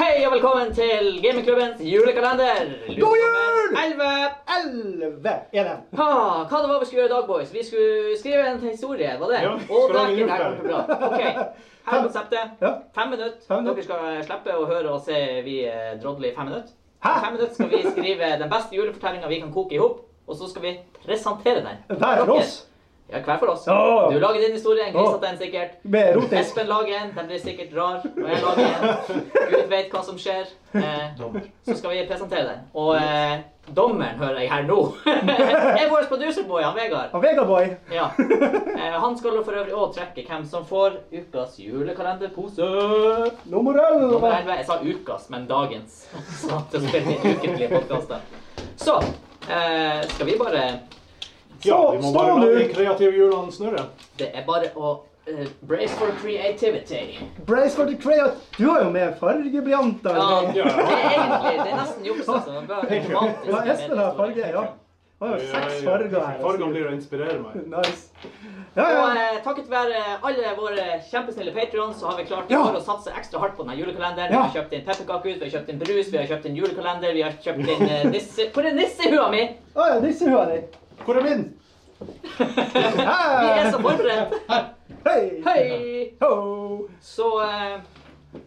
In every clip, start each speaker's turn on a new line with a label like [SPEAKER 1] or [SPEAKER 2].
[SPEAKER 1] Hei og velkommen til Gamingklubbens julekalender.
[SPEAKER 2] God jul!
[SPEAKER 1] 11.
[SPEAKER 2] 11 er den.
[SPEAKER 1] Ha, hva det var vi skulle gjøre i dag, boys? Vi skulle skrive en historie, var det?
[SPEAKER 2] Ja,
[SPEAKER 1] og
[SPEAKER 2] skal lage
[SPEAKER 1] dæken, det her
[SPEAKER 2] julekalender.
[SPEAKER 1] kommer til å bli bra. Ok, Her er
[SPEAKER 2] Fem-
[SPEAKER 1] konseptet.
[SPEAKER 2] Ja.
[SPEAKER 1] Fem minutter.
[SPEAKER 2] Fem
[SPEAKER 1] Dere
[SPEAKER 2] minutter.
[SPEAKER 1] skal slippe å høre og se vi eh, drodle i fem minutter.
[SPEAKER 2] Hæ?
[SPEAKER 1] I fem minutter skal vi skrive den beste julefortellinga vi kan koke i hop, og så skal vi presentere den.
[SPEAKER 2] Hver for
[SPEAKER 1] Dere-
[SPEAKER 2] oss.
[SPEAKER 1] Ja, hver for oss.
[SPEAKER 2] Ja.
[SPEAKER 1] Du lager din historie, en
[SPEAKER 2] Ja.
[SPEAKER 1] grisete en sikkert.
[SPEAKER 2] Med rotisk.
[SPEAKER 1] Espen lager en, den blir sikkert rar. Og jeg lager en. Gud vet hva som skjer. Eh, så skal vi presentere den. Og eh, dommeren hører jeg her nå. er vår producerboy, han Vegard.
[SPEAKER 2] Og Vegaboy.
[SPEAKER 1] Ja. Eh, han skal for øvrig òg trekke hvem som får ukas julekalenderpose.
[SPEAKER 2] Nummer
[SPEAKER 1] Nummer
[SPEAKER 2] 11.
[SPEAKER 1] 11. Jeg sa ukas, men dagens. Så at det spiller litt ukentlige podkaster. Så eh, skal vi bare
[SPEAKER 2] Så,
[SPEAKER 3] Ja, vi må
[SPEAKER 2] stå
[SPEAKER 3] bare la de
[SPEAKER 2] nå.
[SPEAKER 3] kreative hjulene snurre.
[SPEAKER 1] Det er bare å eh, brace for creativity.
[SPEAKER 2] Brace for the Crayot. Du har jo med fargeblyanter.
[SPEAKER 1] Ja,
[SPEAKER 2] og
[SPEAKER 1] det
[SPEAKER 2] greier.
[SPEAKER 1] er egentlig det er nesten juks. Altså. Det er bare romantisk.
[SPEAKER 2] Ja, Espen har farge, ja.
[SPEAKER 1] eh,
[SPEAKER 2] Han har jo seks farger her.
[SPEAKER 3] eh, Fargene blir å inspirere meg.
[SPEAKER 2] Nice. Ja,
[SPEAKER 1] Og
[SPEAKER 2] ja.
[SPEAKER 1] eh, takket være alle våre kjempesnille Patreons, så har vi klart i
[SPEAKER 2] Ja.
[SPEAKER 1] år å satse ekstra hardt på denne julekalenderen.
[SPEAKER 2] Ja.
[SPEAKER 1] Vi har kjøpt inn pepperkakehus, vi har kjøpt inn brus, vi har kjøpt inn julekalender, vi har kjøpt inn eh, nisse... Hvor er nissehua mi?
[SPEAKER 2] Å ja, nissehua di. Hvor er min?
[SPEAKER 1] Vi er så forberedt.
[SPEAKER 2] Hei.
[SPEAKER 1] Hei!
[SPEAKER 2] Ho.
[SPEAKER 1] Så eh,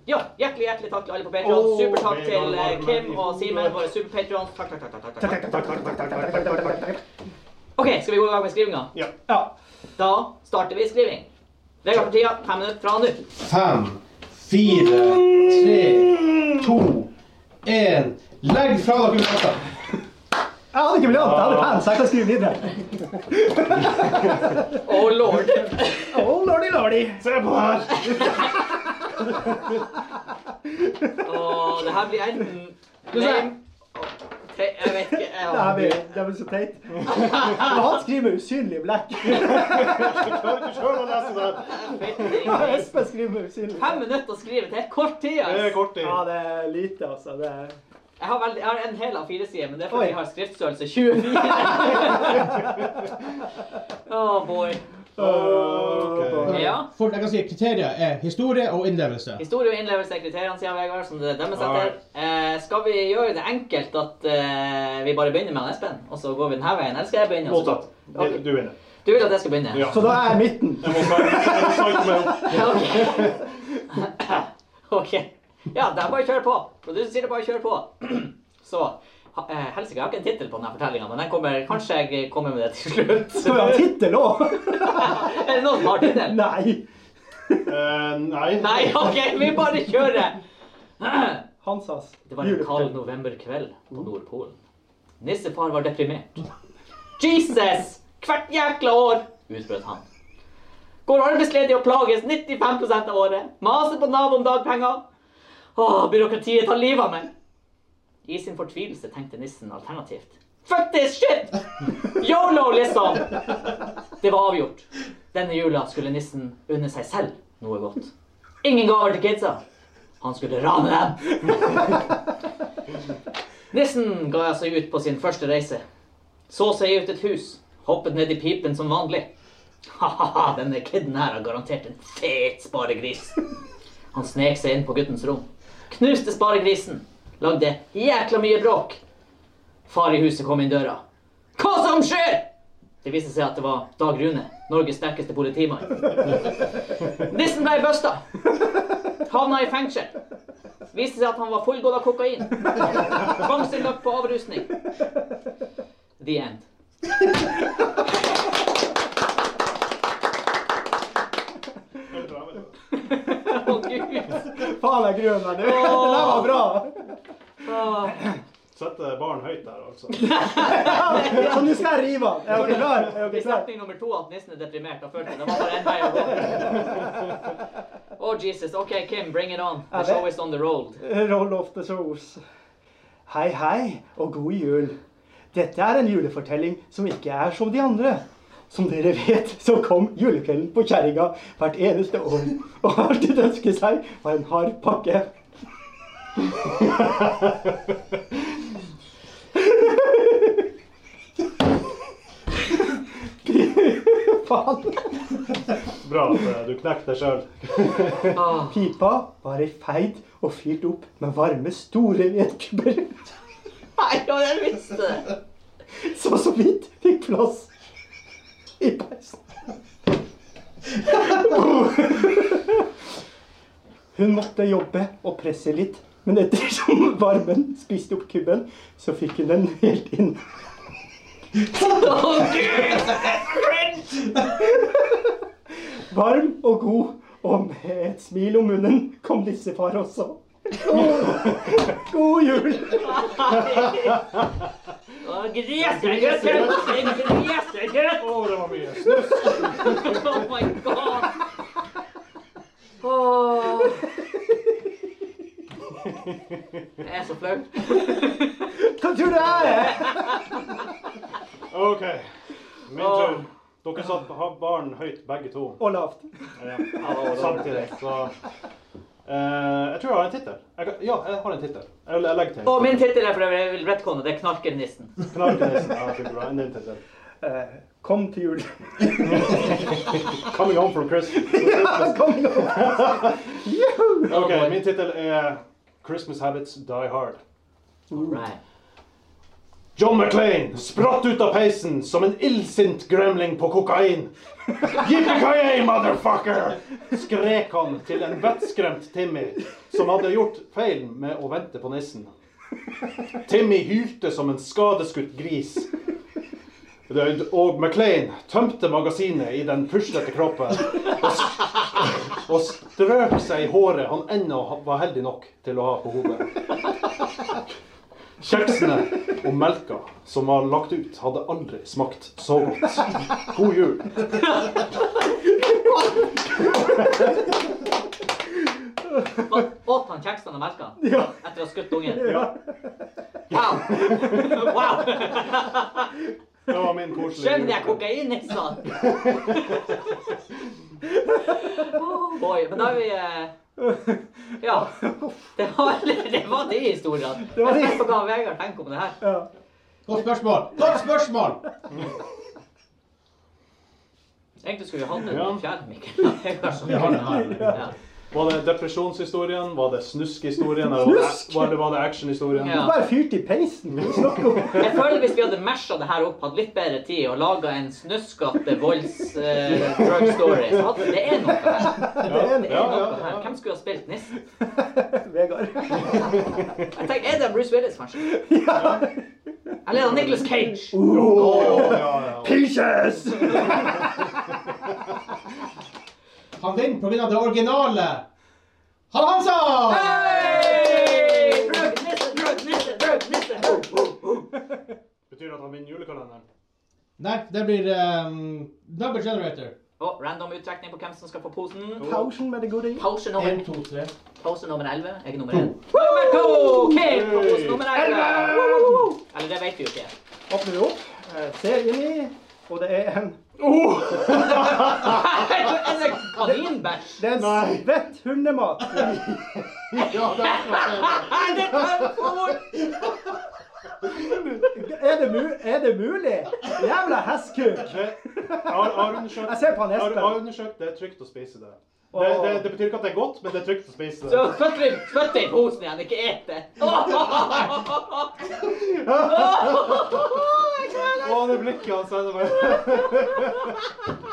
[SPEAKER 1] ja, hjertelig hjertelig takk til alle på Patreon.
[SPEAKER 2] Åh,
[SPEAKER 1] Supertakk
[SPEAKER 3] Vegard
[SPEAKER 1] til eh,
[SPEAKER 3] Varmen
[SPEAKER 1] Kim
[SPEAKER 3] i
[SPEAKER 1] og
[SPEAKER 3] hodet.
[SPEAKER 1] Simen, våre superpatrions. Takk, takk, takk, takk, takk, takk.
[SPEAKER 2] Ja.
[SPEAKER 1] OK, skal vi gå i gang med skrivinga?
[SPEAKER 3] Ja.
[SPEAKER 1] Da starter vi skriving. Vegard for tida, fem minutter fra nå.
[SPEAKER 4] fem, fire, tre, to, én. Legg fra dere låta.
[SPEAKER 2] Jeg hadde ikke blyant, jeg hadde penn, så jeg kan skrive videre.
[SPEAKER 1] Oh lord.
[SPEAKER 2] Oh, lordy, lordy.
[SPEAKER 3] Se på det her!
[SPEAKER 1] Åh, det her blir enten
[SPEAKER 2] Du ser.
[SPEAKER 1] Name- Åh, tre- Jeg vet ikke. Jeg
[SPEAKER 2] Det her
[SPEAKER 1] har
[SPEAKER 2] blir, det blir så teit. Men han skriver med usynlig blekk.
[SPEAKER 3] Jeg klarer ikke selv å lese det her.
[SPEAKER 2] Ja, Espen skriver med usynlig
[SPEAKER 1] Fem
[SPEAKER 2] blekk.
[SPEAKER 1] minutter å skrive til. Kort tid.
[SPEAKER 3] Det er
[SPEAKER 1] ass.
[SPEAKER 3] kort tid.
[SPEAKER 2] Ja, det er lite, altså. Det er...
[SPEAKER 1] Jeg har, veldig, jeg har en hel av fire sider, men det er fordi
[SPEAKER 2] Oi.
[SPEAKER 1] jeg har skriftstørrelse 24. Åh, boy.
[SPEAKER 3] Ok.
[SPEAKER 1] Ja.
[SPEAKER 4] Folk, jeg kan si Kriterier er historie og innlevelse.
[SPEAKER 1] Historie og innlevelse er kriteriene, sier Vegard. som det dømmes etter.
[SPEAKER 3] Alright.
[SPEAKER 1] Eh, skal vi gjøre det enkelt at eh, vi bare begynner med han Espen, og så går vi denne veien? Eller skal jeg begynne? og så-
[SPEAKER 3] Mottatt. Du- Du vinner.
[SPEAKER 1] Du vil at jeg skal begynne?
[SPEAKER 3] Ja.
[SPEAKER 2] Så da er jeg i midten.
[SPEAKER 3] Jeg må bare- jeg må psyke meg opp.
[SPEAKER 1] Ok. ok. Ja, det er bare å kjøre på. Produsenten sier det er bare å kjøre på. Så ha- eh, Helsike, jeg har ikke en tittel på denne fortellinga, men den kommer, kanskje jeg eh, kommer med det til
[SPEAKER 2] Skal vi ha
[SPEAKER 1] slutt.
[SPEAKER 2] tittel òg?
[SPEAKER 1] er det noen som har tittel?
[SPEAKER 2] Nei.
[SPEAKER 3] Eh,
[SPEAKER 1] Nei,
[SPEAKER 3] Nei.
[SPEAKER 1] OK, vi bare kjører.
[SPEAKER 2] Hansas
[SPEAKER 1] Det var en kald novemberkveld på Nordpolen. Nissefar var deprimert. Jesus! Hvert jækla år! utbrøt han. Går arbeidsledig og plages 95 av året. Maser på Nav om dagpenger. Åh, byråkratiet tar livet av meg. I sin fortvilelse tenkte nissen alternativt. Fuck this shit! Yolo, liksom! Det var avgjort. Denne jula skulle nissen unne seg selv noe godt. Ingen gaver til kidsa. Han skulle rane dem. Nissen ga seg ut på sin første reise. Så seg ut et hus. Hoppet ned i pipen som vanlig. Ha-ha-ha, denne kidden her har garantert en fet sparegris. Han snek seg inn på guttens rom. Knuste sparegrisen. Lagde jækla mye bråk. Far i huset kom inn døra. Hva som skjer?! Det viste seg at det var Dag Rune, Norges sterkeste politimann. Nissen ble busta. Havna i fengsel. Viste seg at han var fullgått av kokain. Tvangsinnlagt på avrusning. The end. Å, Gud.
[SPEAKER 2] Faen, jeg gruer meg nå. Det der var bra.
[SPEAKER 1] Åh.
[SPEAKER 3] Sette eh, barn høyt der, altså.
[SPEAKER 2] Ja, Så nå skal jeg rive den. Er dere klar? Er
[SPEAKER 1] I
[SPEAKER 2] dere klar?
[SPEAKER 1] setning nummer to at nissen er deprimert og følte det var bare en vei å gå. Å, Jesus. OK, Kim, bring it on. The
[SPEAKER 2] Ja, det-
[SPEAKER 1] show is on the road.
[SPEAKER 2] Roll off the shows. Hei, hei, og god jul. Dette er en julefortelling som ikke er som de andre. Som dere vet, så kom julekvelden på kjerringa hvert eneste år. Og alt de ønsket seg, var en hard pakke. faen!
[SPEAKER 3] Bra at eh, du knekte deg sjøl.
[SPEAKER 1] Ah,
[SPEAKER 2] Pipa var ei feit og fylt opp med varme, store vedkubber
[SPEAKER 1] nei, ja, jeg visste det!
[SPEAKER 2] som så vidt fikk plass i peisen. Hun måtte jobbe og presse litt, men ettersom varmen spiste opp kubben, så fikk hun den helt inn.
[SPEAKER 1] Å, Gud!
[SPEAKER 2] Varm og god, og med et smil om munnen kom nissefar også. God jul!
[SPEAKER 1] Å, Grisekjøtt! Grisekjøtt!
[SPEAKER 3] Å, det var mye snus.
[SPEAKER 1] Oh my god! Åh. Jeg er så flau.
[SPEAKER 2] Hva tror du det er?
[SPEAKER 3] OK. Min
[SPEAKER 1] Åh.
[SPEAKER 3] tur. Dere satt har barn høyt, begge to.
[SPEAKER 2] Og lavt.
[SPEAKER 3] Ja. Samtidig, så Eh, Jeg tror jeg har en tittel. Jeg kan- Ja, jeg har en tittel. Jeg, jeg legger til.
[SPEAKER 1] Og min tittel er for jeg vil retconne, det er Knarkernissen.
[SPEAKER 3] Knarkenissen. Ja, det er bra. En din tittel.
[SPEAKER 2] Eh, Kom til jul.
[SPEAKER 3] Coming home for Christmas.
[SPEAKER 2] Kom nå! Juhu!
[SPEAKER 3] OK, min tittel er Christmas Habits Die Hard.
[SPEAKER 1] Right.
[SPEAKER 3] John McClane spratt ut av peisen som en illsint gremling på kokain. Yippee-ki-yay, motherfucker! skrek han til en vettskremt Timmy, som hadde gjort feil med å vente på nissen. Timmy hylte som en skadeskutt gris. Og McClane tømte magasinet i den puslete kroppen og, s- og strøk seg i håret han ennå var heldig nok til å ha på hodet. Kjeksene og melka som var lagt ut, hadde aldri smakt så godt. God jul.
[SPEAKER 1] Hva, Åt han kjeksene og melka
[SPEAKER 2] Ja.
[SPEAKER 1] etter å ha skutt ungen?
[SPEAKER 2] ja.
[SPEAKER 1] Wow! wow.
[SPEAKER 3] Det var min koselige
[SPEAKER 1] Skjønner jeg kokainnissen? Oh boy. Men da er vi eh, Ja. Det var, det var de historiene.
[SPEAKER 2] var de.
[SPEAKER 1] Jeg skal ta Vegard tenke om det her.
[SPEAKER 2] ja.
[SPEAKER 4] Godt spørsmål. Godt spørsmål!
[SPEAKER 1] Egentlig skulle vi hatt en
[SPEAKER 3] Ja.
[SPEAKER 1] fjerde Mikkel. Vegard, som
[SPEAKER 4] Vi har den
[SPEAKER 1] kunne-
[SPEAKER 4] her.
[SPEAKER 1] Ja.
[SPEAKER 3] Var det depresjonshistorien? Var det snuskhistorien? Eller var
[SPEAKER 2] Snusk?
[SPEAKER 3] det, var det, var det actionhistorien?
[SPEAKER 1] Ja.
[SPEAKER 2] Bare fyrt i peisen. Hva snakker du om?
[SPEAKER 1] Jeg føler hvis vi hadde masha det her opp, hatt litt bedre tid og laga en snuskete volds eh, drug story, så hadde det er noe her.
[SPEAKER 2] Det er en
[SPEAKER 1] Det er
[SPEAKER 3] Ja,
[SPEAKER 1] noe
[SPEAKER 3] ja,
[SPEAKER 1] her.
[SPEAKER 3] ja.
[SPEAKER 1] Hvem skulle ha spilt nissen?
[SPEAKER 2] Vegard.
[SPEAKER 1] Jeg tenker, Er det Bruce Willis, kanskje?
[SPEAKER 2] Ja.
[SPEAKER 1] Eller er det Nicolas Cage?
[SPEAKER 3] Å, ja, ja.
[SPEAKER 2] Pinches!
[SPEAKER 4] Han vinner på grunn av det originale. Harald Hansen!
[SPEAKER 1] Hey! Drug nisse, drug nisse, drug nisse!
[SPEAKER 3] Betyr det at han vinner julekalenderen?
[SPEAKER 4] Nei, det blir ehm, number generator.
[SPEAKER 1] Og random uttrekning på hvem som skal få posen.
[SPEAKER 2] Pausen med det gode i.
[SPEAKER 1] Pose
[SPEAKER 4] En,
[SPEAKER 1] nummer,
[SPEAKER 4] to, tre.
[SPEAKER 1] pose nummer 11. Jeg er nummer 1. Roberto Kidd på pose nummer 11! Eller det vet vi jo ikke.
[SPEAKER 2] Åpner vi opp, eh, ser inn i, og det er en
[SPEAKER 1] Er det kaninbæsj?
[SPEAKER 2] Det er en
[SPEAKER 3] Nei.
[SPEAKER 2] svett hundemat.
[SPEAKER 3] Ja, det er
[SPEAKER 1] Er det komfort?
[SPEAKER 2] Er det, mu er det mulig? Jævla hestkuk!
[SPEAKER 3] det. Jeg har, jeg har undersøkt.
[SPEAKER 2] Jeg ser på han
[SPEAKER 3] Jeg har, jeg har
[SPEAKER 2] Espen.
[SPEAKER 3] undersøkt. Det er trygt å spise det. Det, det. det betyr ikke at det er godt, men det er trygt å spise
[SPEAKER 1] Så
[SPEAKER 3] det.
[SPEAKER 1] spytt deg- spytt deg i posen igjen, ikke et det.
[SPEAKER 3] Å, det blikket han sender meg.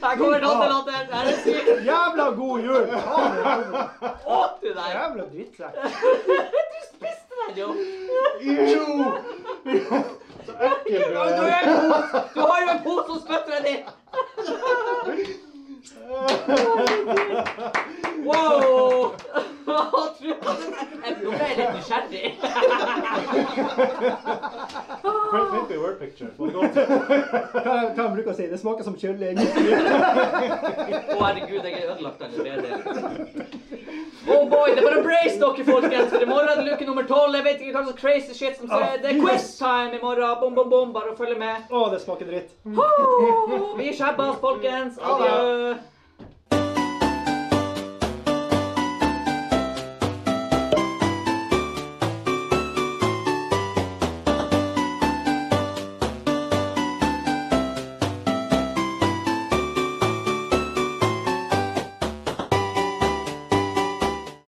[SPEAKER 1] Her kommer nattelatter. Er det sykt?
[SPEAKER 2] Jævla god jul! Faen, det er god.
[SPEAKER 1] Åt du deg?
[SPEAKER 2] Jævla drittsekk.
[SPEAKER 1] Du spiste den jo.
[SPEAKER 3] Jo! Så ekkel
[SPEAKER 1] Du
[SPEAKER 3] du
[SPEAKER 1] har jo
[SPEAKER 3] er.
[SPEAKER 1] en pose. Du har jo en pose som spytter den i. Wow! Hva tror du? Nå ble jeg litt nysgjerrig.
[SPEAKER 3] Maybe a word picture. Var det godt?
[SPEAKER 2] Hva hva han bruker å si? Det smaker som kylling.
[SPEAKER 1] Å, herregud, jeg er ødelagt allerede. Oh boy, det er bare brace dere, folkens, for i morgen er det luke nummer tolv. Jeg vet ikke hva slags crazy shit som skjer. Det er quiz time i morgen. Bom, bom, bom. Bare følg med.
[SPEAKER 2] Å, det smaker dritt.
[SPEAKER 1] Ho! Vi skjerper oss, folkens. Adjø.